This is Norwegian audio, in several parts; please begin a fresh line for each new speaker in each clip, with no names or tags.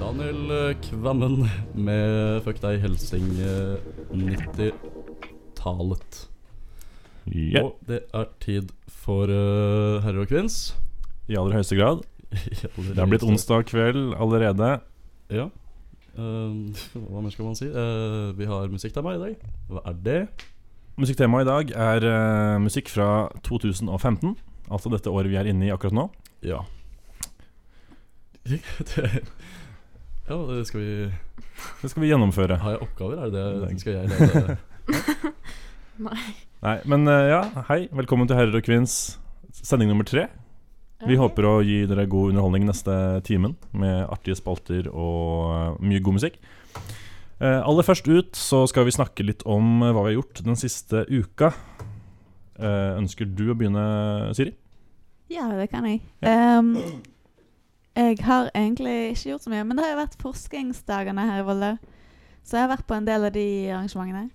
Daniel Kvammen med Fuck deg Helsing eh, 90-tallet.
Ja,
Og det er tid for eh, herrer og kvinns.
I aller høyeste grad. Det har blitt onsdag kveld allerede.
Ja. Eh, hva mer skal man si? Eh, vi har musikktema i dag. Hva er det?
Musikktemaet i dag er eh, musikk fra 2015. Altså dette året vi er inne i akkurat nå.
Ja. det ja, det skal vi
Det skal vi gjennomføre.
Har jeg oppgaver? Er det det skal jeg lede?
Nei, men eh, ja, hei. Velkommen til Herrer og kvinns sending nummer tre. Vi håper å gi dere god underholdning neste timen med artige spalter og eh, mye god musikk. Eh, aller først ut så skal vi snakke litt om eh, hva vi har gjort den siste uka. Eh, ønsker du å begynne, Siri?
Ja, det kan jeg. Ehm, jeg har egentlig ikke gjort så mye, men det har jo vært forskningsdagene her i Volda. Så jeg har vært på en del av de arrangementene.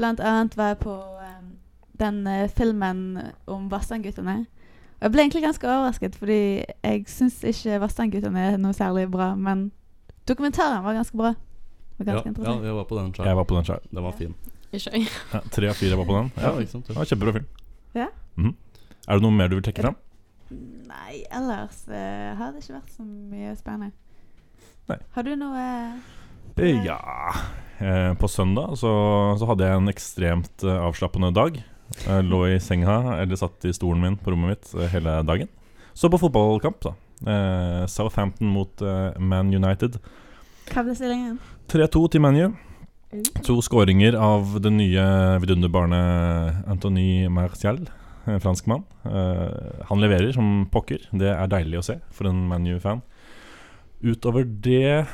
Blant annet var jeg på ehm, den eh, filmen om Vassendguttene. Og jeg ble egentlig ganske overrasket, fordi jeg syns ikke Vassendguttene er noe særlig bra, men dokumentaren var ganske bra. Det var
Ja,
ganske
ja,
interessant.
jeg var på den.
Jeg
Sjøl.
var på den sjøl.
Den var fin.
Ikke jeg.
Ja, tre av fire var på den.
Ja, ikke sant?
Det var en kjempebra film.
Ja.
Mhm. Er det noe mer du vil trekke fram?
Nei, ellers eh, har det ikke vært så mye spennende.
Nei.
Har du noe eh,
Eh, Ja eh, På søndag så, så hadde jeg en ekstremt eh, avslappende dag. Jeg lå i senga eller satt i stolen min på rommet mitt eh, hele dagen. Så på fotballkamp, da. Eh, Southampton mot eh, Man United.
Hva ble stillingen?
3-2 til ManU.
Mm.
To skåringer av det nye vidunderbarnet Anthony Martial, en fransk mann. Eh, han leverer som pokker. Det er deilig å se for en ManU-fan. Utover det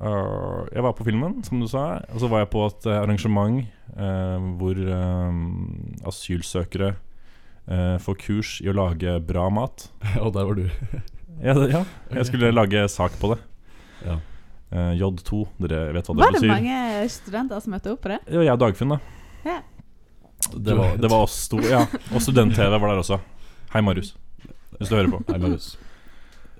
eh, Jeg var på filmen, som du sa. Og så var jeg på et eh, arrangement eh, hvor eh, asylsøkere eh, får kurs i å lage bra mat.
Og der var du.
Ja, det- ja, jeg skulle lage sak på det.
Ja.
Eh, J2, dere vet hva det
Var det
betyr.
mange studenter som møtte opp på det?
Det var jeg og Dagfinn, da.
Ja.
Det var, det var oss to. Ja. Og Student-TV var der også. Hei, Marius. Hvis du hører på.
Hei, Marius.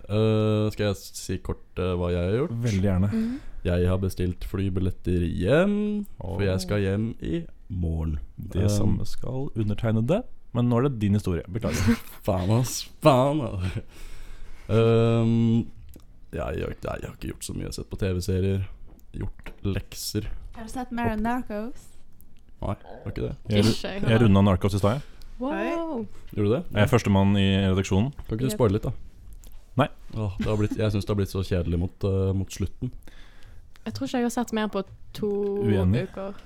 Eh, skal jeg si kort eh, hva jeg har gjort?
Veldig gjerne.
Mm.
Jeg har bestilt flybilletter hjem, for jeg skal hjem i morgen.
Det samme skal undertegnede. Men nå er det din historie. Beklager.
Eh, Faen, ass. Faen, ass. Um, jeg, jeg, jeg har ikke gjort så mye. Jeg har sett på TV-serier, gjort lekser.
Har du sett Mary Narcos?
Nei, var ikke det.
Jeg, ru-
Ikke
jeg runda Narcos i stad. jeg.
Wow.
Gjorde du det?
Jeg er førstemann i redaksjonen.
Kan ikke du spoile litt, da?
Nei.
Åh, det har blitt, jeg syns det har blitt så kjedelig mot, eh, mot slutten.
Jeg tror ikke jeg har sett mer på to
Uenig.
uker.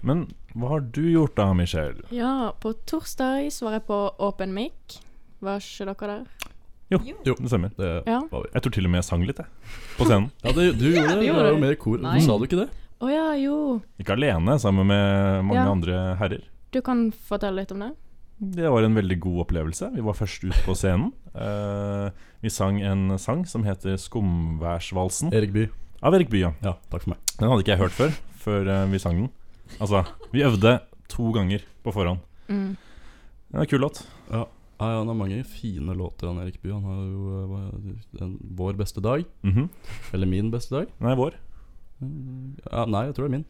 Men hva har du gjort da, Michelle?
Ja, på torsdag så var jeg på Open Mic. Var ikke dere der?
Det stemmer.
Det
Ja.
var vi.
Jeg tror til og med jeg sang litt, jeg. På scenen.
Ja, det, du gjorde det.
du
Du
gjorde
var jo
det.
med i kor.
Nei.
Hvorfor sa du ikke det?
Å ja, jo.
Ikke alene, sammen med mange
Ja.
andre herrer.
Du kan fortelle litt om det?
Det var en veldig god opplevelse. Vi var først ut på scenen. Eh, vi sang en sang som heter 'Skumværsvalsen'
Erik Bye.
av Erik Bya.
Ja, takk for meg.
Den hadde ikke jeg hørt før, før eh, vi sang den. Altså, vi øvde to ganger på forhånd.
Mm.
Det er en kul låt.
Ah, Ja, ja, han har mange fine låter, han Erik Bye. Han har jo eh, hva- den, Vår beste dag.
Mhm.
Eller Min beste dag. Eh,
Den er vår.
Ja, nei, jeg tror det er min,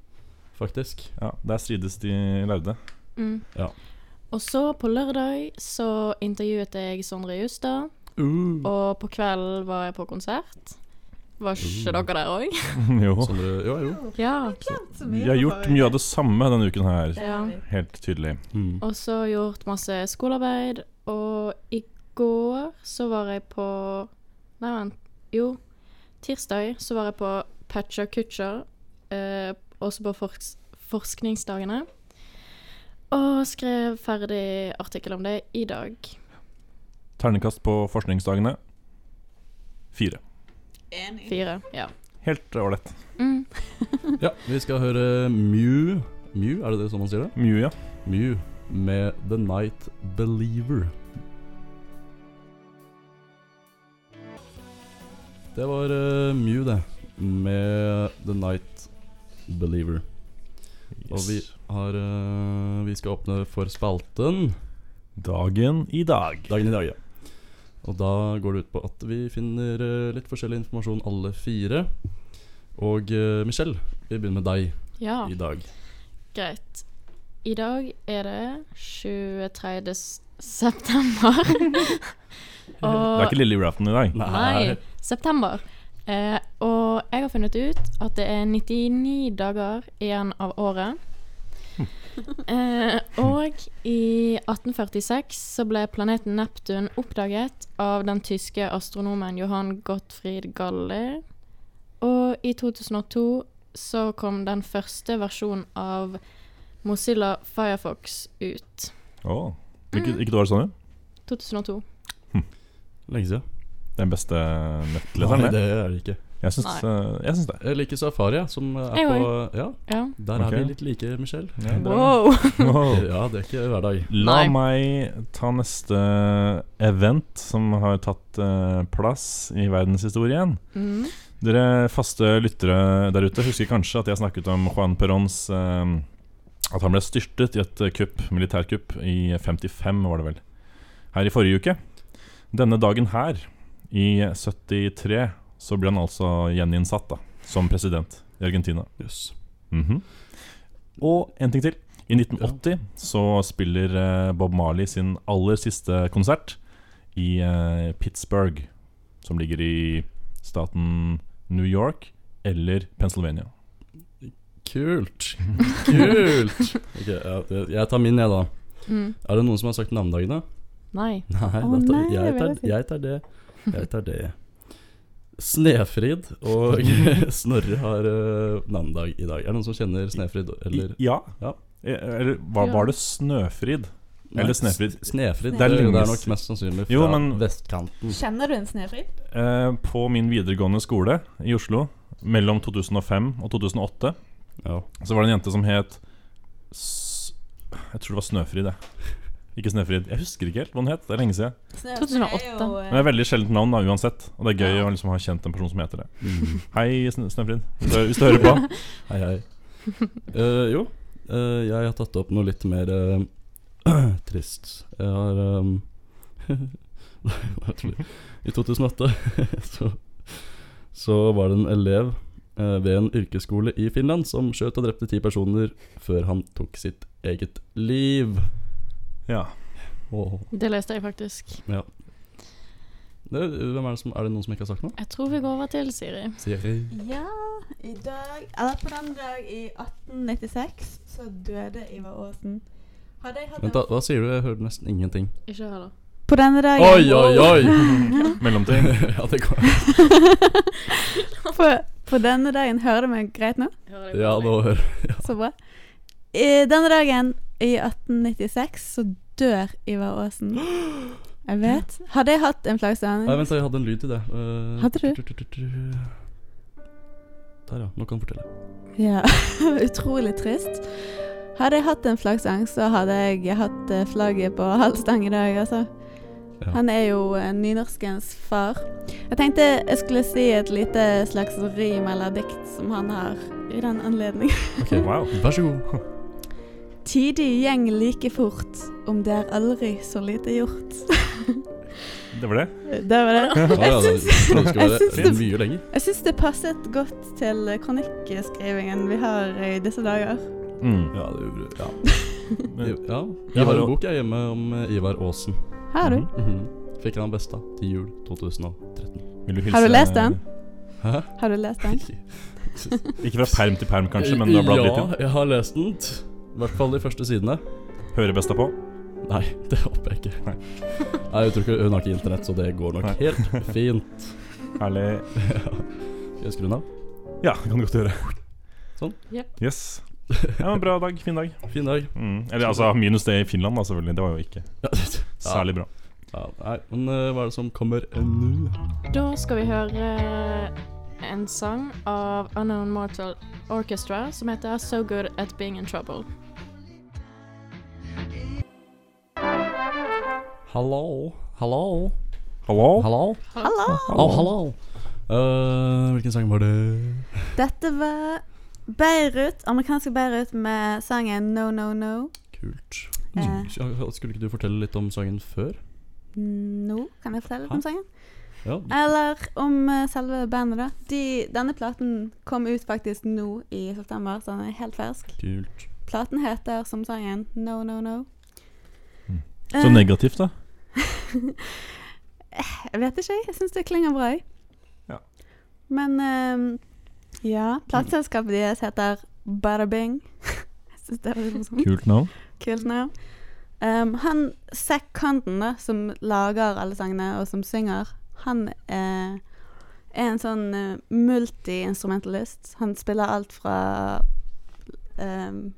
faktisk.
Ja, der strides de lærde.
Mm.
Ja.
Og så på lørdag så intervjuet jeg Sondre Justad, og på kvelden var jeg på konsert. Var
Mm.
ikke
Uh.
dere der òg?
jo.
Sondre Jo, jo.
Ja.
Vi har gjort mye av det samme denne uken her,
ja.
helt tydelig.
Mm.
Og så gjort masse skolearbeid. Og i går så var jeg på Nei, vent. Jo, tirsdag så var jeg på Patcher Kutcher. Eh, også på forks forskningsdagene. Og skrev ferdig artikkel om det i dag.
Ternekast på forskningsdagene. Fire.
Fire. Ja.
Helt ålreit.
Mm.
Ja, vi skal høre Mew. Mew, er det det sånn man sier det?
Mye, ja.
Mew med The Night Believer. Det var eh, Mew, det. Med The Night Believer. Og vi
Yes.
har eh, Vi skal åpne for spalten
Dagen i dag.
Dagen i dag, ja. Og da går det ut på at vi finner eh, litt forskjellig informasjon alle fire. Og eh, Michelle, vi begynner med deg
Ja,
i dag.
greit. I dag er det 23. s- september.
Det er ikke lille julaften i dag.
Nei, september. Eh, og jeg har funnet ut at det er 99 dager igjen av året. Eh, og i 1846 så ble planeten Neptun oppdaget av den tyske astronomen Johan Gottfried Galli. Og i 2002 så kom den første versjonen av Mozilla Firefox ut.
Åh. Ikke, ikke det var sånn, ja?
2002.
Lenge siden.
Den beste
Nei,
nettleseren, det.
det er det ikke.
Jeg syns, eh, jeg syns det.
Jeg liker Safari, ja, som eh, er
Jeg
på Ja,
Ja.
der
Ok. Oh.
er vi litt like, Michelle.
Ja, det er-
Wow!
Wow.
Ja, det er ikke hver dag.
La
Nei.
meg ta neste event som har tatt eh, plass i verdenshistorien.
Mm.
Dere faste lyttere der ute husker kanskje at jeg snakket om Juan Perons eh, At han ble styrtet i et eh, kupp, militærkupp i 55, var det vel. Her i forrige uke. Denne dagen her, i 73, så ble han altså gjeninnsatt da, som president i Argentina.
Jøss.
Mhm. Og en ting til. I 1980 så spiller eh, Bob Marley sin aller siste konsert i eh, Pittsburgh, som ligger i staten New York eller Pennsylvania.
Kult. Kult. Ok, ja, jeg, jeg tar min, jeg, da.
Mm.
Er det noen som har sagt navnedagen, da?
Nei.
Nei,
Å,
da tar,
nei,
jeg,
det
tar,
vil jeg si.
jeg tar det. Jeg tar det. Snefrid og Snorre har uh, navnedag i dag. Er det noen som kjenner Snefrid? Eller
I, ja.
Ja.
Eh, Eller var,
Ja.
var det Snøfrid?
Nei,
eller Snefrid.
S- Snefrid.
Det
Det
er
er,
lenge
det er
s-
nok mest sannsynlig fra
Jo, men-
vestkanten.
Kjenner du en Snefrid?
Eh, på min videregående skole i Oslo mellom 2005 og 2008
Ja.
så var det en jente som het S Jeg tror det var Snøfrid, jeg. Ikke Snefrid. Jeg husker ikke helt hva den het. Det er lenge siden.
Snefrid er
2008.
jo
Men det
eh,
er veldig sjeldent navn da, uansett. Og det er gøy å liksom ha kjent en person som heter det.
Mm.
Hei, Sn- Snefrid. Hvis du- Hvis du hører på.
Hei, hei. Eh, jo, eh, jeg har tatt opp noe litt mer eh, trist. Jeg har ehm, Nei, det er tull. I 2008 så, så var det en elev eh, ved en yrkesskole i Finland som skjøt og drepte ti personer før han tok sitt eget liv.
Ja.
Åh.
Det leste jeg faktisk.
Det, hvem er, det som, er det noen som ikke har sagt noe?
Jeg tror vi går over til Siri.
Siri.
Ja, i dag Eller på den dag i 1896 så døde Ivar Aasen. Hadde jeg hatt
Vent, da. Hva sier du? Jeg hørte nesten ingenting.
Ikke heller.
en På denne dagen
Oi, oi, oi!
Mellomting.
ja, det går.
På, på denne dagen Hører du meg greit nå?
Ja, nå hører
Så bra. I denne dagen i 1896 så dør Ivar Aasen. Jeg vet. Hadde jeg hatt en
Nei,
flaggstang
vent, da, jeg hadde en lyd til det. Eh,
Hadde du?
tru-tru-tru-tru. Der, ja. Nå kan du fortelle.
ja. Utrolig trist. Hadde jeg hatt en flaggstang, så hadde jeg hatt eh, flagget på halv stang i dag, altså.
Ja.
Han er jo eh, nynorskens far. Jeg tenkte jeg skulle si et lite slags rim eller dikt som han har i den anledning.
Wow.
Vær så god.
Tidig gjeng like fort, om det er aldri så lite gjort.
Det var det.
Det var det.
Ja, ja, det, det skal
jeg syns
være
det-
mye lenger.
Jeg syns det passet godt til kronikkskrivingen vi har i disse dager.
Mm.
Ja, det gjorde ja.
Men-
I- ja. Jeg har
Ivar Å-
en bok jeg hjemme om eh, Ivar Aasen.
Har du?
Mhm.
Mhm. Fikk han besta til jul 2013.
Vil du hilse
Har du lest den?
Hæ?
Har du lest den?
Ikke fra perm til perm, kanskje, men du har bladd litt
Eh, ja,
inn.
jeg har lest den. I hvert fall de første sidene.
Hører besta på.
Nei, det håper jeg ikke.
Nei.
Nei, jeg tror ikke Hun har ikke internett, så det går nok
Nei.
helt fint.
Herlig.
Skal jeg skru den av?
Ja, det kan du godt gjøre.
Sånn.
Yep.
Yes. Ja, men Bra dag. Fin dag.
Fin dag.
Mm. Eller altså, minus det i Finland, da, selvfølgelig. Det var jo ikke
Ja,
særlig bra.
Ja, nei, men eh, hva er det som kommer eh, nå?
Da skal vi høre eh, en sang av Unknown Mortal Orchestra som heter So Good At Being In Trouble.
Hallo, hallo,
Hallo?
hallo,
Hallo!
hallo, hallo. Eh, Hvilken sang var det?
Dette var Beirut, amerikanske Beirut med sangen No No No.
Kult.
Eh,
Mm.
Skulle ikke du fortelle litt om sangen før?
nå, kan jeg fortelle litt om
Hæ?
sangen?
Ja,
Eller om eh, selve bandet, da. De, denne platen kom ut faktisk nå i september, så den er helt fersk.
kult.
Platen heter som sangen No No No.
Mm.
Eh,
Så negativt, da.
jeg vet ikke, jeg. jeg syns det klinger bra. jeg.
Ja. Mm.
Men eh, ja, plateselskapet deres heter Bada Bing. jeg syns det er litt morsomt.
Kult navn.
Kult navn. Um, han Zack Canton, da, som lager alle sangene og som synger, han eh, er en sånn eh, multi-instrumentalist. Han spiller alt fra um,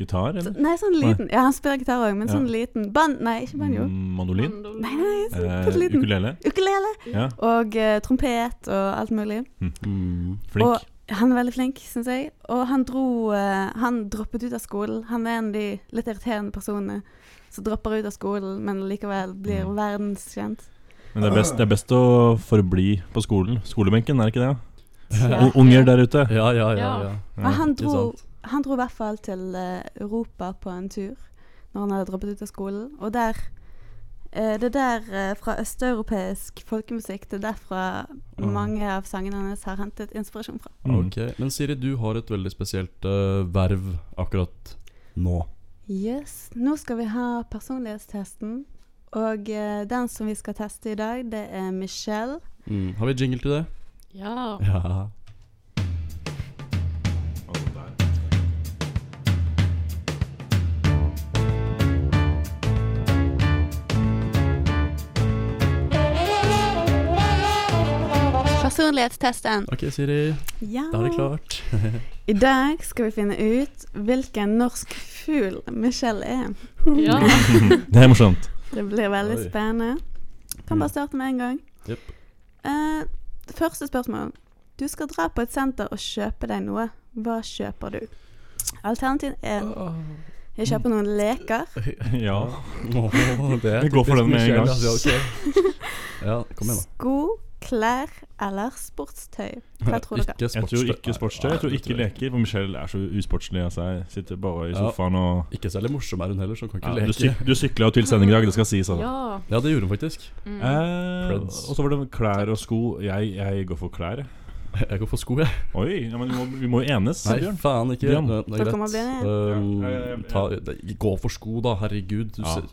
Gitar,
så,
eller?
Nei, sånn liten Ja, han spiller gitar òg, men
Ja.
sånn liten ban Nei, ikke banjo.
Mm, Mandolin?
Mandolin.
Nei, nei, sånn
Eh,
bitte liten.
ukulele?
Ukulele
Ja,
og eh, trompet og alt mulig.
Mm.
flink.
Og han er veldig flink, syns jeg. Og han dro eh, Han droppet ut av skolen. Han er en av de litt irriterende personene som dropper ut av skolen, men likevel blir
Mm.
verdenskjent.
Men det er, best, det er best å forbli på skolen. Skolebenken, er det ikke det?
Ja,
Un- Unger der ute.
ja, ja. ja,
Ja.
ja.
Men Ah, han
ikke
dro,
sant.
han dro i hvert fall til eh, Europa på en tur når han hadde droppet ut av skolen. Og der eh, Det er der eh, fra østeuropeisk folkemusikk Det er derfra
Mm.
mange av sangene hans har hentet inspirasjon fra.
Mm.
Ok, Men Siri, du har et veldig spesielt eh, verv akkurat nå.
Yes. Nå skal vi ha personlighetstesten. Og eh, den som vi skal teste i dag, det er Michelle.
Mm. Har vi jingle til det?
Ja.
Ja.
Personlighetstesten.
Ok, Siri.
Ja.
Da er det klart.
I dag skal vi finne ut hvilken norsk fugl Michelle er.
ja.
Det er morsomt.
Det blir veldig
Oi. Mm.
spennende. Kan bare starte med en gang.
Jepp.
Eh, første spørsmål. Du skal dra på et senter og kjøpe deg noe. Hva kjøper du? Alternativ er jeg kjøper noen leker.
Ja.
Åh, det er
Vi går for
typisk
den med en
Michelle,
gang.
altså, ok. Ja, kom igjen, da.
Sko, klær eller sportstøy? Hva tror dere?
Ikke
Jeg tror ikke
Nei,
sportstøy.
nei,
Jeg tror
det
ikke leker, for Michelle er så usportslig av seg. Sitter bare i
Ja.
sofaen og
Ikke særlig morsom er hun heller, så hun kan ikke
ja, du,
leke.
syk, du sykla jo til sending i dag, det skal sies. Altså.
ja.
Ja, det gjorde hun faktisk.
Mm.
Eh,
Preds.
og så var det klær og sko. Jeg, jeg går for klær. jeg.
Jeg går for sko, jeg.
Oi, ja, men vi må, vi må jo enes,
Nei,
Bjørn.
faen ikke.
Bjørn.
Det, det er
Dere må
greit.
bli enige.
Um,
Ja, ja, ja, ja.
ta, det- gå for sko, da. Herregud. Du
Ja.
ser.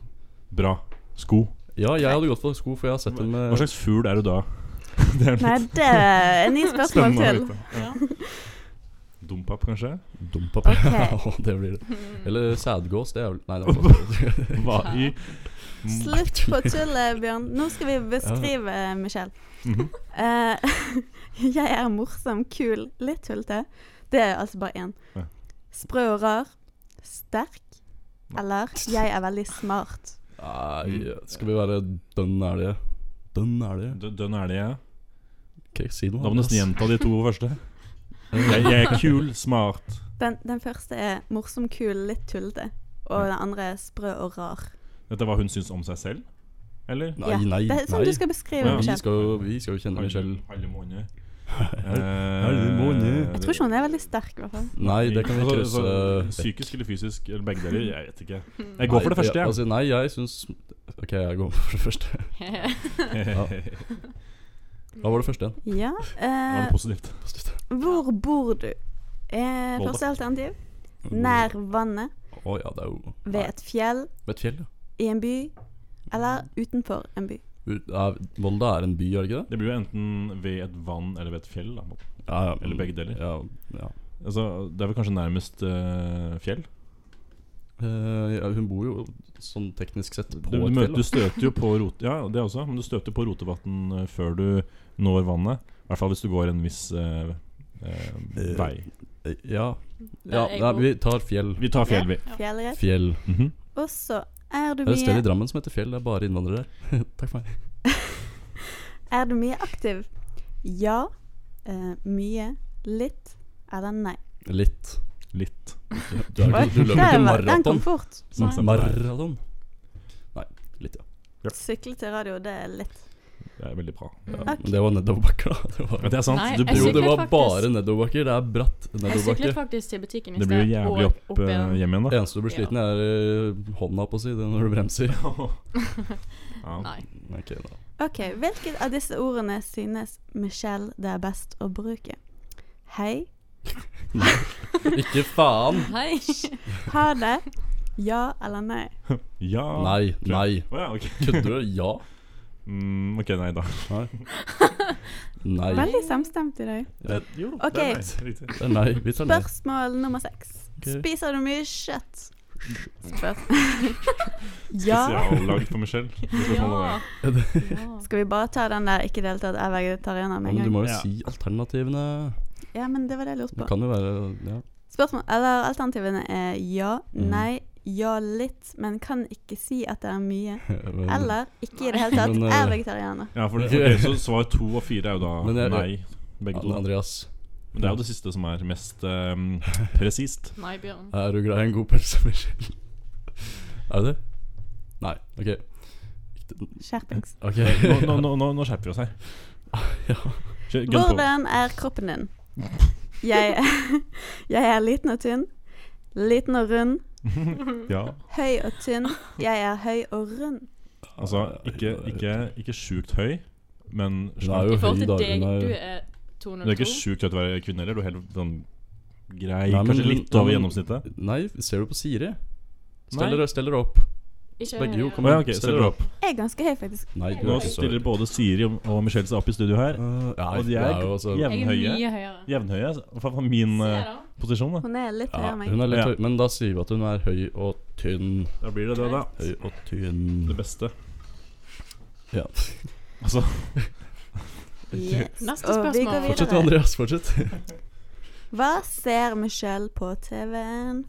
Bra. Sko.
ja, jeg hadde gått for sko, for jeg har sett henne med
Hva slags fugl er du da? Det er
Nei, det er ni spørsmål
spennende å
til.
vite.
Ja.
Dompap, kanskje?
Dumpa
Ok.
det blir det. Eller sædgås. Det er vel Nei, det
Hva?
er
Hva i
Slutt på tullet, Bjørn. Nå skal vi beskrive Michelle.
Mhm.
Eh, jeg er morsom, kul, litt tullete. Det er altså bare én.
Ja.
Sprø og rar. Sterk. Eller jeg er veldig smart.
Nei, skal vi være dønn ærlige? Dønn ærlige?
Dø- Dønn er det, ja.
Ok, si noe.
Da må du nesten
Andreas.
gjenta de to første. Jeg, jeg er kul, smart.
Den, den første er morsom, kul, litt tullete. Og den andre er sprø og rar.
Dette er hva hun syns om seg selv? Eller?
Nei,
Ja,
nei,
Det er sånn
nei.
du skal beskrive
Ja,
vi,
Michelle.
skal, jo- vi skal jo kjenne Michelle.
Halve måned. Eh,
halve måned.
Jeg tror ikke hun er veldig sterk, i hvert fall.
Nei, det kan vi
Altså,
krysse
altså,
vekk.
Psykisk eller fysisk, eller begge deler, jeg vet ikke. Jeg går for det
Nei,
første,
jeg.
jeg.
Altså, nei, jeg syns Ok, jeg går for det første. Hva var det første igjen?
Ja.
Det var
Eh,
det positivt.
Positivt.
hvor bor du? Eh,
Volda.
første alternativ. Nær vannet.
Å Mm. ja, det er jo
Ved
Nei,
et fjell.
Ved et fjell, ja.
I en by. Eller
Mm.
utenfor en by.
U- er- Volda er en by, er det ikke det?
Det blir jo enten ved et vann eller ved et fjell. Da.
Ja, ja,
Eller begge deler.
Ja, ja.
Altså, det er vel kanskje nærmest eh, fjell?
Eh, ja, hun bor jo sånn teknisk sett på
Du, du,
et
møter,
fjell.
du støter jo på rot, Ja, det også, men du støter på rotevann eh, før du når vannet. I hvert fall hvis du går en viss eh, eh,
Eh.
vei.
da. Ja,
Der
ja
jeg
nei,
går.
vi tar fjell.
Vi tar fjell, vi.
Fjellrett.
Fjell.
Mhm.
Og så er du
Det er et sted i
mye,
Drammen som heter Fjell. Det er bare innvandrere der. Takk for meg.
er du mye aktiv? Ja. Eh, mye. Litt. Eller nei.
Litt.
Litt.
Du, er,
Oi,
ikke- du løper
der
ikke
var- den kom
maraton.
fort.
Nei.
Maraton? Nei, litt, ja.
Sykle til radio, det er litt.
Det er veldig bra.
ja.
Ok.
Men det var nedoverbakker, da. Det var
Men det er sant.
Nei,
du
jeg
Jo,
bor,
det
syklet
var
faktisk.
bare nedoverbakker. Det er bratt
Jeg syklet
nedoverbakke.
faktisk til butikken i
det blir jo
sted,
jævlig
og
opp, eh, hjem igjen,
Det eneste du blir sliten, er eh, hånda, på å si, det er når du bremser.
da. Ja.
Nei.
Ok, da.
Ok, hvilket av disse ordene synes Michelle det er best å bruke? Hei,
Ikke faen!
Hei.
ha det, ja eller nei?
Ja
Nei,
tror jeg.
nei.
Å ja, ok.
Kødder du? Ja?
Mm, ok, nei da.
Nei. Nei.
Veldig samstemt i dag.
Det, jo,
Ok.
det er nei. Riktig.
Det er nei. Vi tar nei.
Spørsmål nummer seks.
Ok.
Spiser du mye kjøtt? Spørsmål. Ja.
Spesiallagd for Michelle.
Ja.
Ja.
Ja.
Skal vi bare ta den der ikke deltatt er
Ja,
vegetarianer med
men du
en gang?
må jo
Ja.
si alternativene.
Ja, men det var det jeg lurte
Det
på.
kan jo være ja.
Spørsmål, eller alternativene er ja,
Mhm.
nei, ja litt, men kan ikke si at det er mye.
men-
Eller ikke i det hele tatt,
Men, eh,
er vegetarianer.
ja, for det, ok, så svar to og fire er jo da
Men jeg-
nei, begge to.
Andreas,
Men det er jo det siste som er mest um, presist.
Nei, Bjørn.
er du glad i en god pølse med skjell? Er du det? Nei. Ok.
Skjerpings.
Ok.
Nå, nå, nå, nå- nå skjerper vi oss her.
Ja.
Kjør- Gun på.
Hvordan er kroppen din? Jeg, jeg er liten og tynn. Liten og rund.
Ja.
Høy og tynn. Jeg er høy og rund.
Altså, ikke, ikke, ikke sjukt høy, men
Hun er
slank.
jo
I forhold
høy,
til
da.
deg,
Hun er
du
jo
er
Du er ikke
202.
sjukt høy til å være kvinne heller. Du er helt sånn grei,
Nei, men-
kanskje litt over
men-
gjennomsnittet.
Nei, ser du på Siri?
Nei.
Stell dere, stell dere opp.
Ikke
Begge jo
høyere.
kommer
Å ja, ok, stell dere opp.
Jeg er ganske høy, faktisk.
Nei, du
Nå
er ikke så
stiller både Siri og og Michelle seg opp i studio her.
Eh, Nei,
Og de
det
er
er jo altså
jevn-
Jeg er
Høye.
mye høyere.
Jevnhøye. altså. Hva faen var min
Se
eh,
da.
posisjon, da?
Hun er litt høyere
ja,
enn
Hun
meg.
er litt
Ja.
høy, men da sier vi at hun er høy og tynn.
Da blir det det, da.
Høy og tynn.
Det beste.
Ja.
Altså
Yes.
Neste
Og vi går
spørsmål.
Fortsett,
videre.
Andreas. Fortsett.
Hva ser Michelle på TV-en?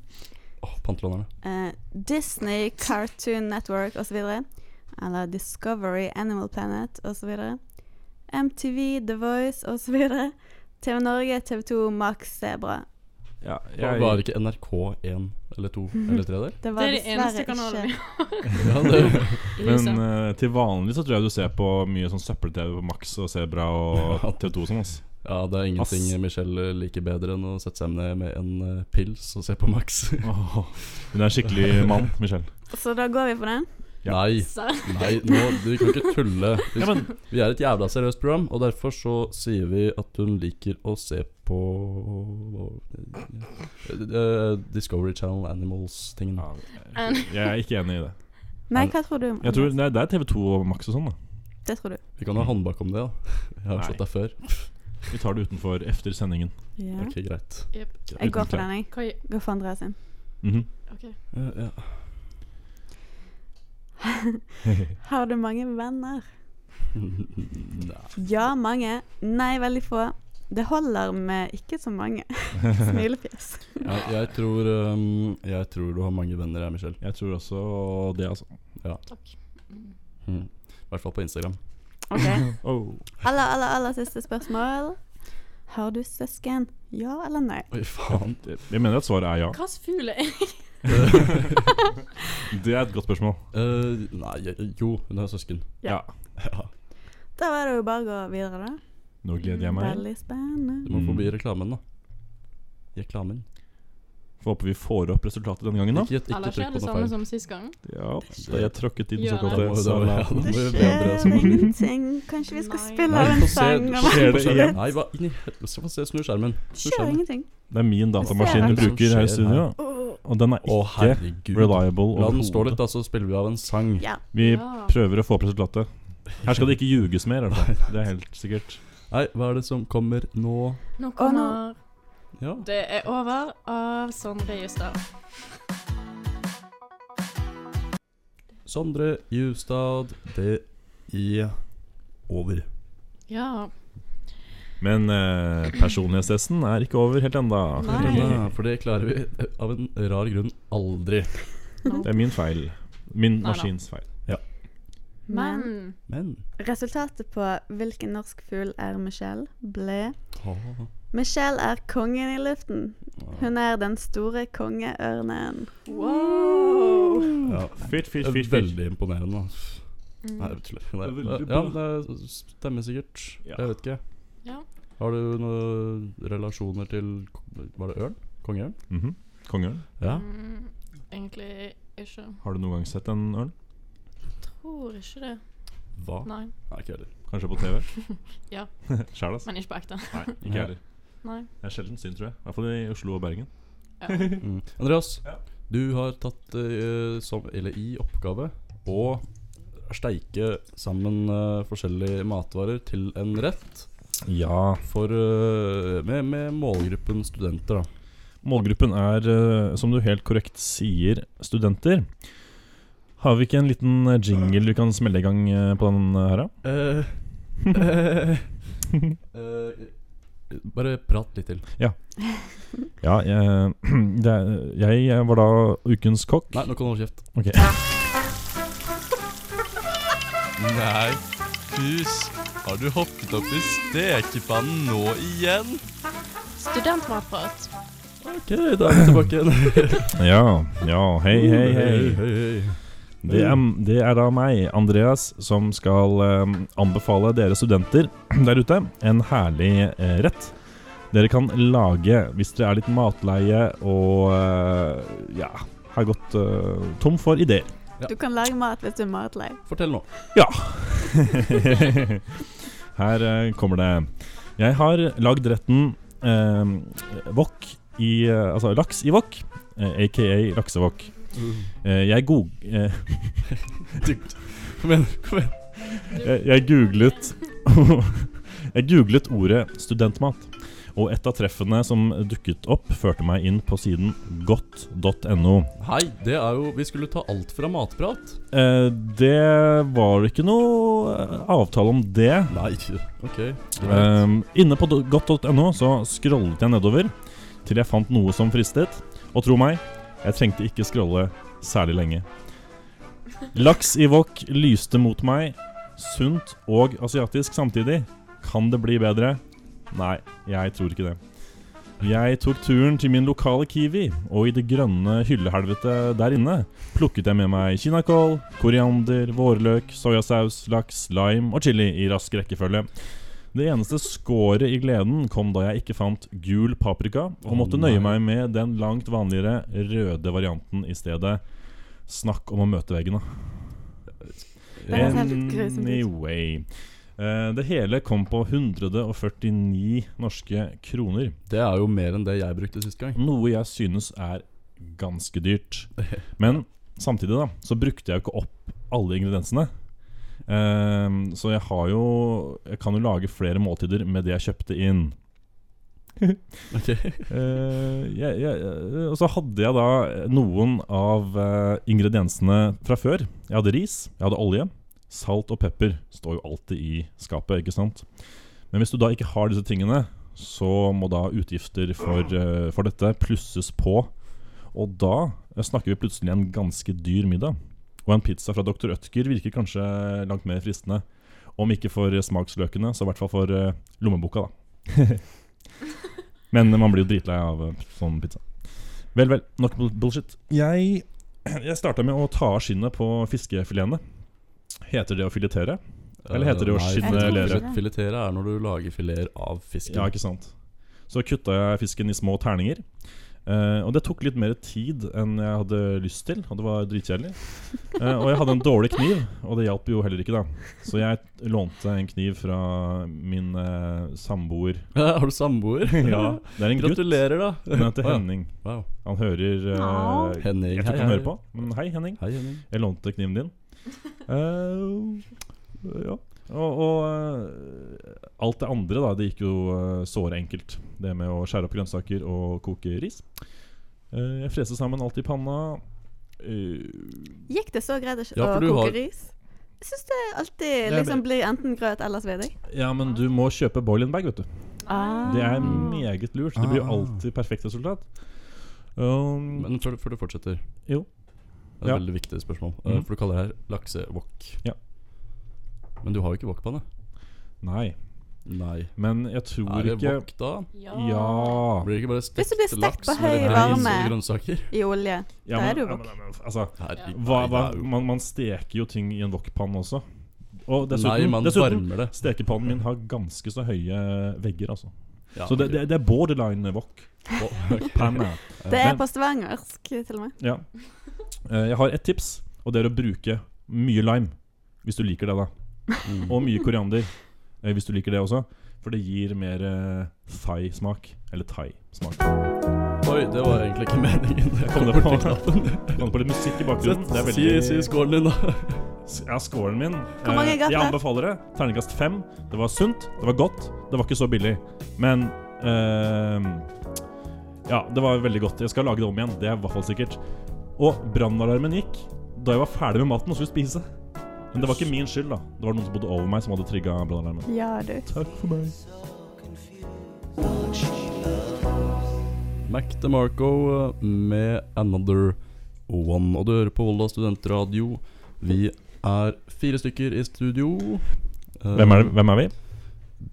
Åh, Pantelånerne.
Eh, Disney, Cartoon Network osv. Eller Discovery, Animal Planet osv. MTV, The Voice osv. TV Norge, TV 2, Max Zebra.
ja,
Var Var ikke NRK1 eller 2 eller 3 der?
Det var
Det er de
dessverre
eneste kanalene vi
ikke
Ja, det,
har i
Men
huset.
eh, til vanlig så tror jeg du ser på mye sånn søppel-TV på Max og Sebra og
Ja.
TV2 og sånn. ass.
ja, det er ingenting Michelle liker bedre enn å sette seg ned med en eh, pils og se på Max.
Åh, Hun er en skikkelig mann, Michelle.
Så da går vi for den.
Ja.
Nei,
Serr?
nei, nå, du kan ikke tulle. Vi,
Ja, men
vi er et jævla seriøst program, og derfor så sier vi at hun liker å se på eh, Discovery Channel Animals-tingen.
ja, Jeg er ikke enig i det.
Nei, hva tror du?
Jeg tror, nei, Det er TV2 og Max og sånn, da.
Det tror du.
Vi kan ha håndbak om det, da. Jeg har
Nei.
slått deg før.
Vi tar det utenfor efter sendingen.
Ja.
Ok, greit.
Jep.
Jeg går for den, jeg.
Hva gjør-
Går for Andreas sin.
Mhm.
ok.
Eh, ja.
Har du mange venner?
Nei.
Ja, mange. Nei, veldig få. Det holder med ikke så mange. Smilefjes.
Jeg, jeg, tror, um, jeg tror du har mange venner her, Michelle.
Jeg tror også det, altså.
Mm. I hvert fall på Instagram.
Ok.
Oh.
Aller, aller, aller siste spørsmål. Har du søsken? Ja eller nei?
Oi, faen.
Jeg mener at svaret er ja.
Hva slags fugl er jeg?
Det er et godt spørsmål.
Eh, nei, jeg- jo, hun har søsken.
Ja.
Ja.
Da var det jo bare å gå videre, da.
Nå gleder jeg meg.
Veldig
Du
spennende.
må
Mm.
forbi reklamen, da. Reklamen.
Får håpe vi får opp resultatet denne gangen, da.
Ikke et
Eller
ikke
skjer
trykk
det
på noe
samme
feil.
som sist gang?
Ja, da jeg tråkket i den
Gjør det.
Da må-
såkalte
da må- ja, da må
salaten.
Det
vi be Andreas
altså,
om
skjer
å-
ingenting. Kanskje vi skal
Nei.
spille
Nei,
en
få se,
sang?
få se
Skjer
på
det
skjermen.
igjen?
Nei, hva inni helvete? Få se, snu skjermen. Snu
Skjer
skjermen.
ingenting.
Det er min datamaskin
Hva
vi
er det som
bruker her i
skjer
studio,
her?
Åh,
og den er
Å,
ikke
herregud.
reliable.
La den stå
overhodet.
litt, da, så spiller vi av en sang.
Ja.
Vi
Ja.
prøver å få opp resultatet. Her skal det ikke ljuges mer, i hvert fall. Det er helt sikkert.
Nei, hva er det som kommer nå?
Nå kommer
Ja.
Det er over av Sondre Justad.
Sondre Justad, det er over.
Ja.
Men eh, personlighetstesten er ikke over helt enda.
Nei.
Ja, for det klarer vi eh, av en rar grunn aldri.
Det er min feil. Min
Nei da.
maskins feil.
Men
Men
Men
resultatet på hvilken norsk fugl er Michelle, ble
ta
Michelle er kongen i luften. Hun er den store kongeørnen.
wow!
ja,
Fyrt, fyrt,
det er
fyrt. fyrt.
Veldig imponerende. ass. Nei,
Mm.
jeg tuller. Nei,
Det er veldig
Ja, det stemmer sikkert.
Ja.
Jeg vet ikke.
Ja.
Har du noen relasjoner til k- Var det ørn? Kongeørn?
Mhm. Kongeørn.
Ja.
Mm, Egentlig ikke.
Har du noen gang sett en ørn?
Tror tror ikke det.
Hva?
Nei.
Nei, ikke heller.
Kanskje på TV?
Ja.
Sjæl, altså.
Men ikke på ekte.
Nei, ikke jeg heller.
Nei.
Jeg er sjelden syn, tror jeg. I hvert fall i Oslo og Bergen.
Mm. Andreas,
Ja.
du har tatt eh, som, eller i oppgave å steike sammen eh, forskjellige matvarer til en rett
Ja.
for, eh, med, med målgruppen studenter. da
Målgruppen er, eh, som du helt korrekt sier, studenter. Har vi ikke en liten eh, jingle du kan smelle i gang eh, på den eh, her, da?
eh,
bare prat litt til.
Ja, jeg, det, er- jeg var da ukens kokk.
Nei, nå kan du holde kjeft.
Ok.
Nei, pus. Har du hoppet opp i stekepannen nå igjen?
Studentmatprat.
Ok, da er vi tilbake igjen.
Ja, ja, hei, hei, hei.
hei, hei.
Det er, det er da meg, Andreas, som skal eh, anbefale dere studenter der ute en herlig eh, rett. Dere kan lage hvis dere er litt matleie og eh, ja, har gått eh, tom for ideer.
Du kan lage mat hvis du er matlei.
Fortell nå.
Her eh, kommer det. Jeg har lagd retten eh, wok i eh, Altså laks i wok, eh, aka laksewok. Eh, jeg, go eh,
Kom igjen. kom igjen
jeg, jeg googlet Jeg googlet ordet studentmat. Og et av treffene som dukket opp, førte meg inn på siden godt.no.
Hei, det er jo Vi skulle ta alt fra matprat.
Eh, det var ikke noe eh, avtale om det.
Nei, ok. greit.
Um, inne på do- godt.no så scrollet jeg nedover til jeg fant noe som fristet. Og tro meg, jeg trengte ikke scrolle særlig lenge. Laks i wok lyste mot meg, sunt og asiatisk samtidig. Kan det bli bedre? Nei, jeg tror ikke det. Jeg tok turen til min lokale Kiwi, og i det grønne hyllehelvetet der inne plukket jeg med meg kinakål, koriander, vårløk, soyasaus, laks, lime og chili i rask rekkefølge. Det eneste skåret i gleden kom da jeg ikke fant gul paprika, og
Å,
måtte
nei.
nøye meg med den langt vanligere røde varianten i stedet. Snakk om å møte veggen, da.
Det
Eh,
høres helt grusomt ut.
Anyway. Eh, Det hele kom på 149 norske kroner.
Det er jo mer enn det jeg brukte sist gang.
Noe jeg synes er ganske dyrt. Men samtidig da, så brukte jeg jo ikke opp alle ingrediensene. Ehm, så jeg har jo Jeg kan jo lage flere måltider med det jeg kjøpte inn.
Ok
Eh, jeg, jeg, eh, og så hadde jeg da noen av eh, ingrediensene fra før. Jeg hadde ris, jeg hadde olje. Salt og pepper står jo alltid i skapet, ikke sant? Men hvis du da ikke har disse tingene, så må da utgifter for, eh, for dette plusses på. Og da eh, snakker vi plutselig en ganske dyr middag. Og en pizza fra Dr. Ødger virker kanskje langt mer fristende. Om ikke for smaksløkene, så i hvert fall for eh, lommeboka, da. Men man blir jo dritlei av eh, sånn pizza. Vel, vel. Nok bull- bullshit. Jeg, jeg starta med å ta av skinnet på fiskefiletene. Heter det å filetere? Eller heter det å
Eh, Nei,
skinne
filet-
eller-
filet- Filetere er når du lager fileter av fisken.
Ja, ikke sant. Så kutta jeg fisken i små terninger. Eh, og det tok litt mer tid enn jeg hadde lyst til, og det var dritkjedelig. Eh, og jeg hadde en dårlig kniv, og det hjalp jo heller ikke, da. Så jeg lånte en kniv fra min eh, samboer.
Har du samboer?
Ja, det er en gutt.
Gratulerer, da.
Den
Å,
heter
ja.
Henning.
Wow.
Han hører eh,
Au.
Henning,
Jeg tror
hei,
ikke han
hei.
hører på, men hei, Henning.
Hei, Henning.
Jeg lånte kniven din. Eh, ja. Og, og eh, alt det andre, da. Det gikk jo eh, såre enkelt. Det med å skjære opp grønnsaker og koke ris. Eh, jeg freste sammen alt i panna. Eh,
Gikk det så greit å
Ja,
å
for du
koke
har-
ris? Jeg syns det alltid
men-
liksom blir enten grøt eller sveding.
ja, men du må kjøpe boil-in bag, vet du.
Ah.
Det er meget lurt. Det blir jo
Ah.
alltid perfekt resultat. Um,
Men før, før du fortsetter
Jo.
Det er et
Ja.
veldig viktig spørsmål. Eh,
Mhm.
For du kaller det her laksewok.
Ja.
Men du har jo ikke wokpanne.
nei,
Nei.
men jeg tror
Er det
ikke
wok da?
Ja.
Blir det ikke bare
Hvis
stekt
det blir stekt
laks
på høy
med reis
varme.
og grønnsaker?
I olje.
ja
Da
men,
er det jo
ja,
wok.
men, altså,
Herregud.
hva, hva,
det er jo-
man, man steker jo ting i en wokpanne også. Og
Nei,
dessuten,
man
dessuten
varmer det.
stekepannen min har ganske så høye vegger, altså.
Ja,
så det,
ok.
det, det er borderline wok.
Å, ok.
Panna.
Det er
Men-
på stavangersk, til og med.
Ja. Eh, Jeg har et tips, og det er å bruke mye lime. Hvis du liker det, da.
Mm.
Og mye koriander, eh, hvis du liker det også. For det gir mer eh, thai-smak. Eller thai-smak.
Oi, det var egentlig ikke meningen. Jeg
Kom
kom
det
borti
på-
knappen.
Kan du på litt musikk i bakgrunnen? Det
Så
er
Si,
veldig
si skålen din, da.
Ja, scoren min
Hvor mange
eh,
gaffler?
Jeg anbefaler det. Terningkast fem. Det var sunt, det var godt, det var ikke så billig. Men eh, Ja, det var veldig godt. Jeg skal lage det om igjen, det er i hvert fall sikkert. Og brannalarmen gikk da jeg var ferdig med maten og skulle spise. Men det var ikke min skyld, da. Det var noen som bodde over meg, som hadde trigga brannalarmen.
Ja, du.
Takk for meg.
Mac DeMarco eh, med Another One. Og du hører på Volda studentradio. Vi er fire stykker i studio. Eh,
Hvem er, det? Hvem er vi?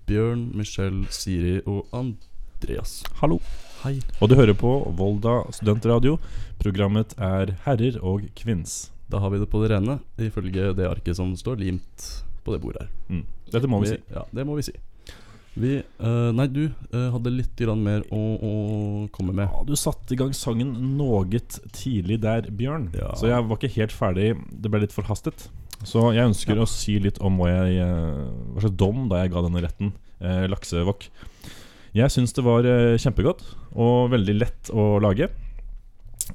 Bjørn, Michelle, Siri og Andreas.
Hallo.
Hei.
Og du hører på Volda studentradio. Programmet er Herrer og kvinns.
Da har vi det på det rene, ifølge det arket som står limt på det bordet her.
Dette må vi si.
Ja, det må vi si. Vi eh, Nei, du eh, hadde litt grann mer å, å komme med.
Ja, du satte i gang sangen noe tidlig der, Bjørn.
Ja.
Så jeg var ikke helt ferdig. Det ble litt forhastet. Så jeg ønsker å si litt om hva, jeg, eh, hva slags dom da jeg ga denne retten, eh, laksevokk. Jeg syns det var eh, kjempegodt og veldig lett å lage.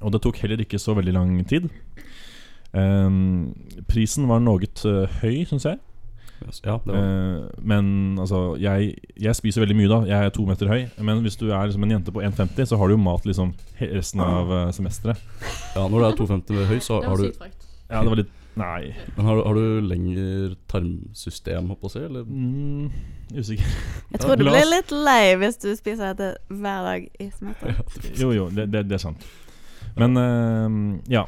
Og det tok heller ikke så veldig lang tid. Eh, prisen var noe eh, høy, syns jeg.
Ja, det var
Eh, men altså, jeg, jeg spiser veldig mye da. Jeg er to meter høy. Men hvis du er liksom en jente på 1,50, så har du jo mat liksom he- resten av eh, semesteret.
Ja, når du er 2,50 med høy, så har,
Det
har
var
du
sykt frekt.
Ja, det var litt Nei.
Men har, du- har du lengre tarmsystem, holdt på å si? Eller?
Mm, usikker.
Jeg tror du
La
blir
oss-
litt lei hvis du spiser dette hver dag i semesteret.
Jo, jo, det, det, det er sant. Men eh, ja.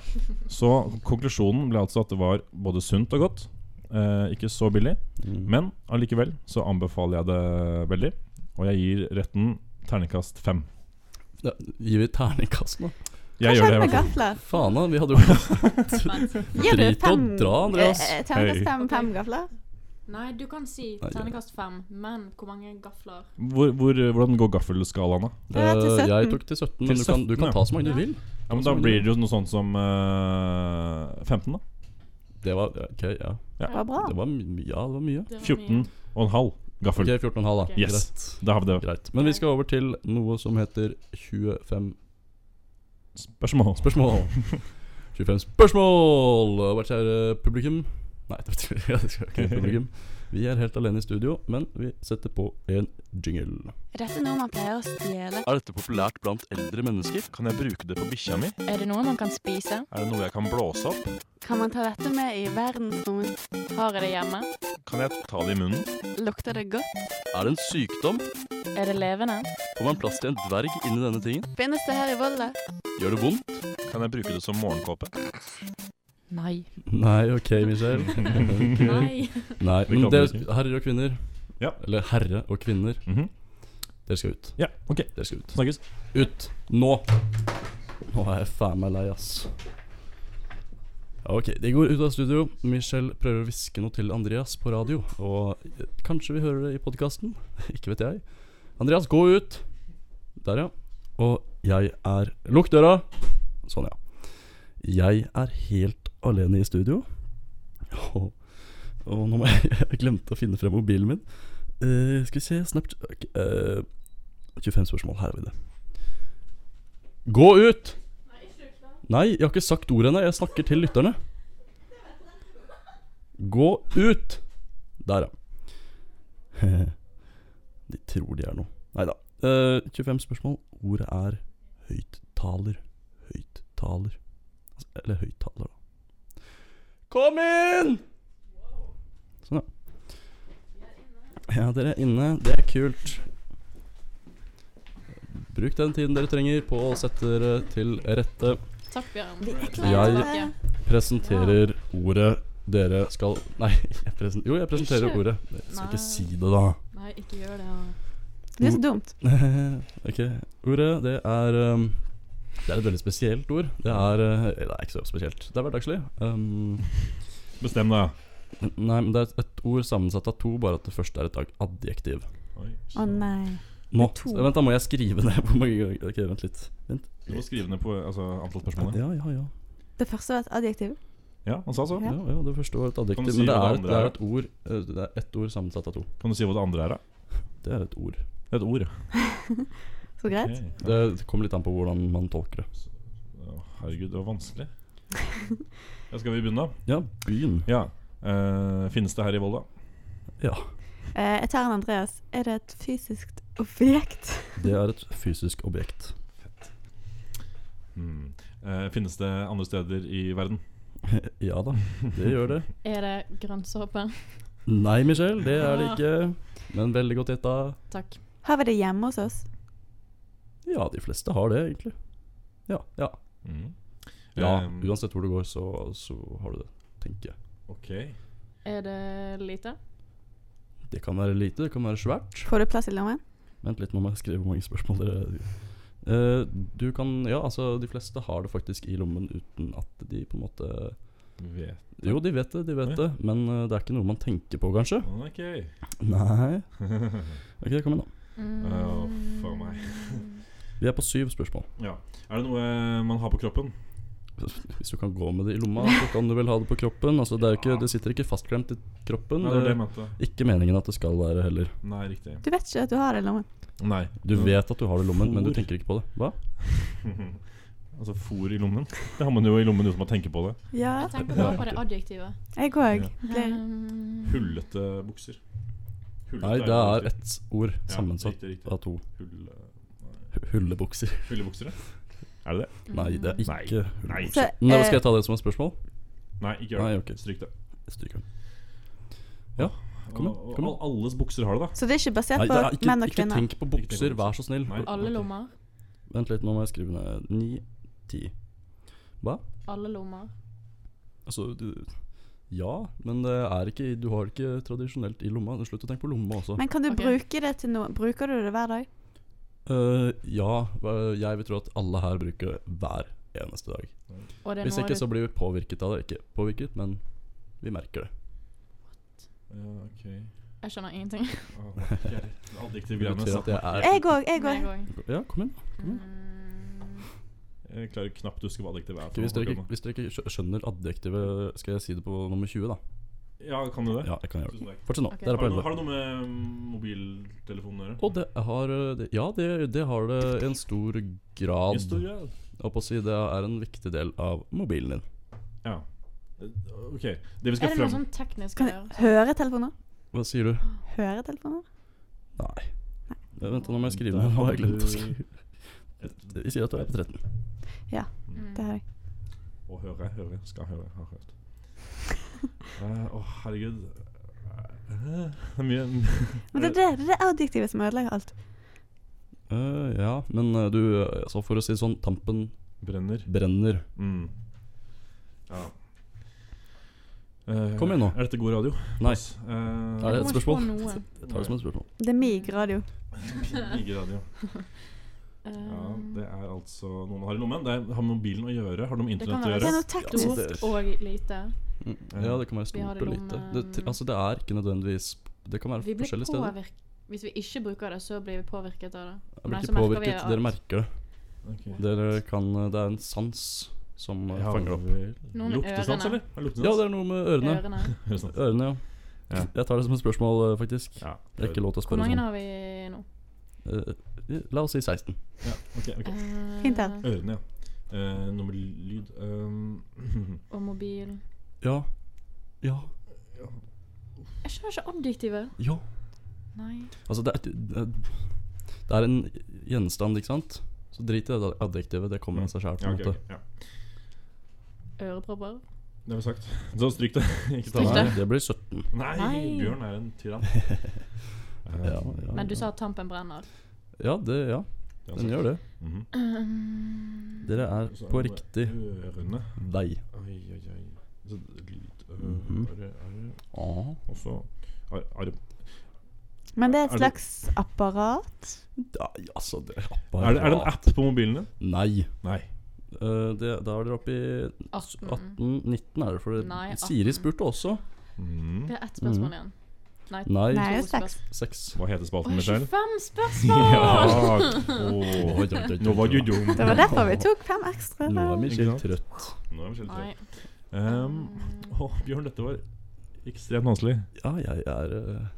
Så konklusjonen ble altså at det var både sunt og godt. eh, ikke så billig.
Mm.
Men allikevel så anbefaler jeg det veldig. Og jeg gir retten ternekast fem.
Ja, gir vi terningkast nå?
Jeg
Hva
gjør det.
skjedde
i
med
hvert fall.
gafler?
Faen da, vi hadde jo ikke
Gir du
Drit og
fem
dra, Andreas.
eh, eh, Terningkast
Hei.
fem, fem gafler?
Nei, du kan si
Nei, ja.
terningkast fem, men hvor mange gafler?
Hvor, hvor, hvordan går gaffelskalaen, da?
Ja, til
Eh,
17.
Jeg tok til 17, men du kan,
Til
du
17, ja.
kan ta så mange du vil.
Ja, men Da blir det jo noe sånt som eh, 15, da.
Det var ja, ok, ja.
Det var bra.
Det var, my- ja, det var mye.
Det var
14
mye.
og en halv gaffel.
Ok, 14,5, da.
Ok.
Yes.
Greit.
Da har vi det.
Greit. Men vi skal over til noe som heter 25
Spørsmål.
spørsmål. 25 spørsmål! Og Vårt kjære publikum Nei, det betyr ja, det skal ikke være publikum. Vi er helt alene i studio, men vi setter på en jingle.
Er dette noe man pleier å stjele?
Er dette populært blant eldre mennesker?
Kan jeg bruke det på bikkja mi?
Er det noe man kan spise?
Er det noe jeg kan blåse opp?
Kan man ta dette med i verdensrommet?
Har jeg det hjemme?
Kan jeg ta det i munnen?
Lukter det godt?
Er det en sykdom?
Er det levende?
Får man plass til en dverg inni denne tingen?
Finnes det her i Volda?
Gjør det vondt?
Kan jeg bruke det som morgenkåpe?
Nei.
Nei, ok, Michelle.
Nei.
Nei,
Vi
men
kan
dere,
ikke.
herrer og kvinner
Ja.
Eller herre og kvinner,
Mhm.
dere skal ut.
Ja, ok.
Dere skal ut.
Snakkes.
Ut! Nå! Nå er jeg faen meg lei, ass. Ja, Ok, de går ut av studio. Michelle prøver å hviske noe til Andreas på radio. Og eh, kanskje vi hører det i podkasten. Ikke vet jeg. Andreas, gå ut! Der, ja. Og jeg er Lukk døra! Sånn, ja. Jeg er helt alene i studio. Og, og nå må jeg Jeg glemte å finne frem mobilen min. Eh, skal vi se Snapchat ok, eh, 25 spørsmål. Her har vi det. Gå ut! Nei, jeg har ikke sagt ordet ennå. Jeg snakker til lytterne. Gå ut! Der, ja. De tror de er noe. Nei da. 25 spørsmål. Ordet er høyttaler. Høyttaler. Altså, Eller høyttaler, da. Kom inn! Sånn, ja. Ja, dere er inne. Det er kult. Bruk den tiden dere trenger på å sette dere til rette.
Takk, Bjørn.
Jeg-
Takk,
Presenterer ordet dere skal Nei, jeg presen, jo, jeg presenterer
Ikke.
ordet. Jeg skal
Nei.
ikke si det, da.
Nei, ikke gjør det. Anna.
Det er så dumt.
ok, ordet det er um, Det er et veldig spesielt ord. Det er uh, Det er ikke så spesielt. Det er hverdagslig. Um,
Bestem deg.
nei, men det er et, et ord sammensatt av to, bare at det første er et ad- adjektiv.
Oi,
Å nei.
Nå,
To.
så, Vent, da må jeg skrive ned hvor mange ganger Ok, vent litt. Vent.
Du må skrive ned på altså, antall spørsmål. ja.
Ja, ja, ja.
Det første var et adjektiv.
Ja, han sa så.
Ja, ja, det første var et
Kan du
adjektiv.
si
Men det er,
hva det andre
det
er,
er et ord eh, Det er ett ord sammensatt av to.
Kan du si hva det andre er, da?
Det er et ord.
Det er et ord, ja.
Så greit.
Ok.
Det kommer litt an på hvordan man tolker det.
Å, Herregud, det var vanskelig. Ja, skal vi begynne, da?
Ja, byen.
Ja. eh, finnes det her i Volda?
Eh, jeg tar en Andreas. Er det et fysisk objekt?
Det er et fysisk objekt.
Hmm. Eh, finnes det andre steder i verden?
Ja da, det gjør det.
Er det grønnsåpe?
Nei, Michelle, det er det ikke. Men veldig godt gjetta.
Takk.
Har vi det hjemme hos oss?
Ja, de fleste har det, egentlig. Ja. ja.
Mm.
ja
Eh,
uansett hvor du går, så, så har du det, tenker jeg.
ok.
Er det lite?
Det kan være lite, det kan være svært.
Får du plass i lommen?
Vent litt, nå må jeg skrive hvor mange spørsmål dere Eh, Du kan Ja, altså, de fleste har det faktisk i lommen uten at de på en måte
Vet
Jo, de vet det, de vet det, men eh, det er ikke noe man tenker på, kanskje.
man ikke.
Nei. Ok, kom igjen, da.
Mm.
Å, faen meg.
Vi er på syv spørsmål.
Ja. Er det noe eh, man har på kroppen?
Hvis du kan gå med det i lomma, så kan du vel ha det på kroppen. Altså, det, er jo ikke, det sitter ikke fastklemt i kroppen.
Nei, det var det jeg
Det
mente.
er ikke meningen at det skal være heller.
Nei, riktig.
Du vet ikke at du har det i lommen.
Nei.
Du vet at du har det i lommen, men du
Fôr.
tenker ikke på det. Hva?
Altså fôr i lommen. Det har man jo i lommen uten å tenke på det.
Ja,
Jeg tenker bare på det adjektivet.
jeg òg.
Um,
Hullete bukser. Hullete
Nei,
jo
det er
riktig.
ett ord sammensatt
Ja, riktig, riktig.
av to
Hulle,
hullebukser.
hullebukser, ja. Er det det?
Nei, det er
Nei.
ikke
Nei.
hullebukser.
Så,
Nå
Mm. eh,
skal jeg ta det som et spørsmål.
Nei, ikke gjør det.
Nei, ok.
Stryk det.
Stryker den. Kom
Kom
igjen, kom igjen.
Alles bukser har det, da.
så det er ikke basert
Nei, det er
på
ikke,
menn og
ikke
kvinner?
tenk på bukser, vær så snill.
Nei.
Alle lommer.
Vent litt, nå må jeg skrive ned. Ni, ti.
Alle lommer.
Altså, du Ja, men det er ikke Du har det ikke tradisjonelt i lomma. Slutt å tenke på lomma også.
Men kan du
Ok.
bruke det til noe? Bruker du det hver dag?
Eh, ja, eh, jeg vil tro at alle her bruker det hver eneste dag.
Og det er
Hvis
noe
ikke,
du
så blir vi påvirket av det. Ikke påvirket, men vi merker det.
Ja, ok.
Jeg skjønner ingenting.
Ah, ok. Det er
Det
Adjektivgreiene.
betyr at
Jeg,
jeg er
Jeg òg, jeg
Meg
òg.
også. Mm.
Ja, kom igjen.
jeg klarer knapt å huske hva adjektiv er.
Ok,
for
Hvis
noe
dere, ikke,
akkurat nå.
hvis dere ikke skjø- skjønner adjektivet, skal jeg si det på nummer 20, da.
Ja, kan du det?
Ja, jeg kan gjøre det.
Tusen takk.
Fortsett nå.
Ok.
Dere er
Har
på
det, noe,
11.
har det noe med mm, mobiltelefonen å gjøre?
Og det har eh, det, Ja, det, det har det i en stor grad.
Historie?
Jeg holdt på å si det er en viktig del av mobilen din.
Ja. Eh, Ok. Det vi
Er
skal
det noe
fram
sånn teknisk å
Kan jeg
gjøre?
høre telefoner?
Hva sier du?
Høre telefoner?
Nei. Eh, Vent, nå må jeg skrive ned. Nå har jeg glemt å skrive. Vi sier at du er på 13.
Mm.
Det har jeg.
Å høre, høre, skal høre, har hørt. Eh, Å, herregud. Eh, det er mye
Men det er det, det, er det adjektivet som ødelegger alt.
Eh, ja, men eh, du, eh, altså for å si det sånn, tampen
brenner.
brenner.
Mm. Ja. Eh,
Kom igjen nå.
Er dette god radio?
Nei,
Yes. Eh,
Er det et
Jeg kommer ikke
spørsmål?
på noe.
jeg tar det som et spørsmål.
Det er mig radio.
Ikke radio. Ja,
Um,
det er altså noe man har i lommen. Det er, har med mobilen å gjøre. Har det noe med
Det
internett å
kan være
Det er
gjøre?
noe teknisk.
Stort og lite.
Mm, Ja, det kan være
Vi
stort
har
og
det om,
lite. Det,
eh,
tr- altså, det er ikke nødvendigvis Det kan være
Vi blir
forskjellige steder.
påvirket Hvis vi ikke bruker det, så blir vi påvirket av det.
Jeg blir
Nei, så
ikke
merker vi
påvirket,
at-
dere merker det.
Ok.
Dere kan, eh, det er en sans som eh,
Ja,
fanger det opp.
vel.
Noe med
Luktesans,
ørene.
eller? Er det
Ja,
Luktesans?
det er noe med ørene.
Ørene.
Høresans.
Ørene, ja.
Ja.
Jeg tar det som et spørsmål, eh, faktisk.
Ja.
Det er ikke lov til å
Hvor
spørre
mange
sånn.
har vi nå?
Eh, La oss si 16.
Ja, ok, ok.
Eh,
Fint, da.
Ørene, ja. Eh, noe med lyd um,
Og mobil.
Ja. Ja.
Jeg skjønner ikke adjektivet.
Ja.
Nei.
Altså, det er, det det er en gjenstand, ikke sant? Så drit i det adjektivet. Det kommer av seg sjøl, på
Mm. Ja,
en
ok,
måte.
ok, ja.
Ørepropper.
Det har vi sagt. Så stryk det. Ikke ta
Stryk
det.
Nei, det blir 17.
Nei,
Nei.
Bjørn er en tyrann.
Ja,
Eh,
ja.
Men du sa at tampen brenner.
Ja, det, ja.
det er
den
sant.
gjør det.
Mhm.
Um,
Dere er
Så
på
det
riktig
Ørene.
vei.
Oi, oi, oi. Så lyd
Mhm.
øre, øre,
Ah.
Og så ar, ar,
Men det
Er
er et
det-
slags apparat.
Da, altså, det
er, det, er det en app på mobilen din?
Nei.
Nei.
Eh, det, da er dere oppe i
18.
18-19, er det? For
Nei,
Siri
18.
spurte også.
Mhm.
Det er ett spørsmål igjen. Nei.
Nei.
Nei,
to
seks.
spørsmål.
6.
Hva heter spalten,
Åh,
Michelle?
25
Ja!
spørsmål!
Åh,
Oi, oi, oi, oi,
Nå var du
oi.
dum.
Det var derfor vi tok fem ekstra.
Nå er
der.
Michelle trøtt.
Nå er Michelle
Nei. Mm.
trøtt. Um, å, Bjørn, dette var ekstremt vanskelig.
Ja, jeg er, eh,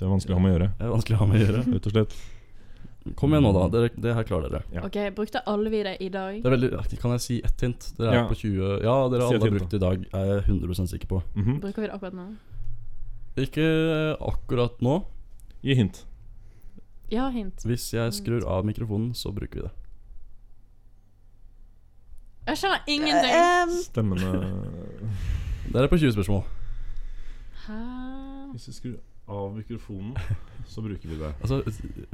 Det er vanskelig å ha med å gjøre,
jeg er vanskelig å ha med å gjøre.
rett og slett.
Kom igjen nå, da. Dere, det her klarer dere.
Ja.
OK, brukte alle vi det i dag?
Det er veldig, kan jeg si ett hint? Dere er
Ja.
på 20 Ja, dere
Si
alle
et
har
hint,
brukt i dag, er jeg 100 sikker på.
Mhm.
Bruker vi det akkurat nå?
Ikke akkurat nå.
Gi hint.
Ja, hint.
Hvis jeg skrur av mikrofonen, så bruker vi det.
Jeg skjønner ingenting.
Ehm,
Stemmene
Dere er på 20 spørsmål.
Hæ?
Hvis vi skrur av mikrofonen, så bruker vi det.
Altså,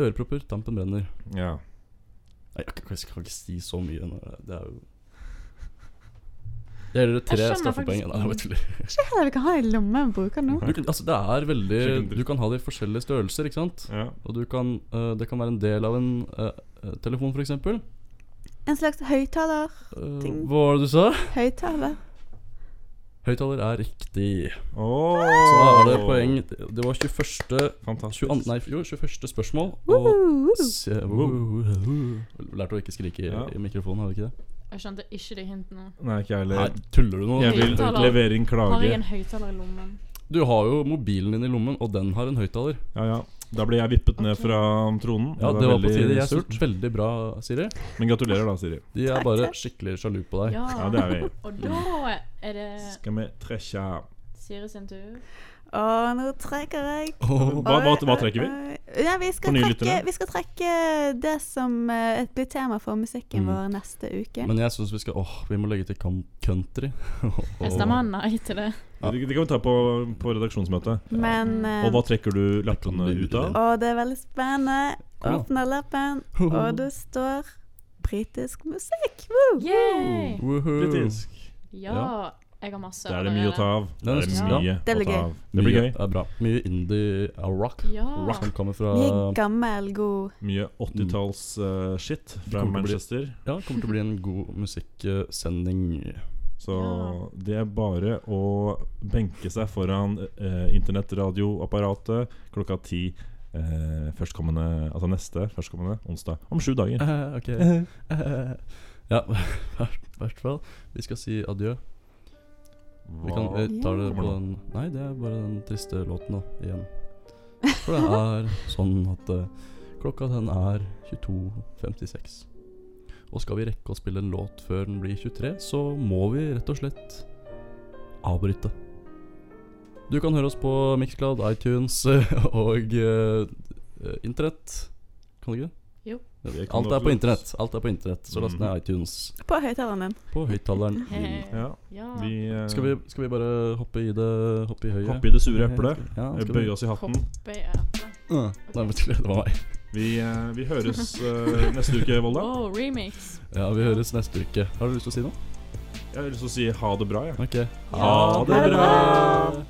ørepropper, tampen brenner.
Ja.
Nei, jeg kan, jeg kan ikke si så mye. nå. Det er jo Det gjelder tre
skjønner
straffepoeng.
faktisk
Nei, jeg bare tuller.
ikke heller vi kan ha det i lommen og bruke den nå.
Du kan- Altså, det er
Skikkelig
veldig
dritt.
Du kan ha det i forskjellige størrelser, ikke sant?
ja.
Og du kan, eh, det kan være en del av en eh, eh, telefon, f.eks. Uh,
En slags høyttaler. Ting.
hva var det du sa?
Høyttaler.
Høyttaler er riktig.
Oh,
Så da er det poeng. Det var 21.
Fantastisk.
20, nei, jo, 21. spørsmål. Og se, Lærte å ikke skrike i,
Ja.
i mikrofonen, har du ikke det?
Jeg skjønte ikke de hintene.
Nei, ikke jeg
Nei,
heller.
tuller du nå?
Jeg vil
Høyttaler.
levere inn
Har jeg
klage.
en høyttaler i lommen?
Du har jo mobilen din i lommen, og den har en høyttaler.
Ja, ja. Da ble jeg vippet ned
Ok.
fra tronen.
Ja, det var på
veldig
tide. Jeg
surt.
synes veldig bra, Siri.
Men gratulerer, da, Siri.
De er
Takk,
bare
takk.
skikkelig sjalu på deg.
Ja.
Ja, det er vi.
Og da er det
Skal vi trekke
Siri sin tur.
Og nå trekker jeg
Åh,
Hva- hva-
Oi,
hva
oi,
trekker vi?
oi. Ja, vi,
For
skal
nye
trekke,
lyttere?
vi skal trekke det som eh, et- blir tema for musikken
Mm.
vår neste uke.
Men jeg syns vi skal Åh, vi må legge til kan- country.
Jeg stemmer nei til det.
Ja.
Det, det kan vi ta på, på redaksjonsmøtet.
Men eh,
Og hva trekker du
Det
lappene
kan bli
ut av?
Og det er veldig spennende.
Ja.
Åpner lappen, og det står britisk musikk. Woo!
Yay!
Woohoo.
Britisk.
Ja, jeg har masse.
Det er det mye å ta av. Det er
Ja.
mye
Det
å
blir
ta
gøy.
av. Det blir
Mye
gøy.
er bra. Mye indie uh, rock.
Ja.
Rock som kommer fra
Mye gammel, god
Mye 80-talls eh, shit
kommer til
fra
å bli-
Manchester.
Ja, kommer til å bli en god musikksending.
Så
Ja.
det er bare å benke seg foran eh, internettradioapparatet klokka ti eh, førstkommende Altså neste førstkommende onsdag. Om sju dager.
Eh, ok. Eh, ja, i hvert fall. Vi skal si adjø. Vi kan eh,
Hva-
vi tar det
Kommer
på
nå.
den Nei, det er bare den triste låten, da. Igjen. For det er sånn at eh, klokka den er 22.56. Og skal vi rekke å spille en låt før den blir 23, så må vi rett og slett avbryte. Du kan høre oss på Mixcloud, iTunes og eh, eh, Internett. Kan du ikke det?
Jo.
Det kan
Alt er
du
på
absolutt.
Internett. Alt er på internett Så last ned iTunes
på høyttaleren din.
på høyttaleren. din.
Ja,
Ja.
vi eh,
Skal vi, skal vi bare hoppe i det Hoppe i høyet?
hoppe i det sure eplet.
Ja, skal vi-
Bøye oss i hatten.
Hoppe i eple.
Nei, men det var meg.
Vi, eh, vi høres eh, neste uke, Volda.
Oh, remix.
Ja, vi høres neste uke. Har du lyst til å si noe?
Jeg har lyst til å si ha det bra. jeg.
Ok.
Ha det
bra!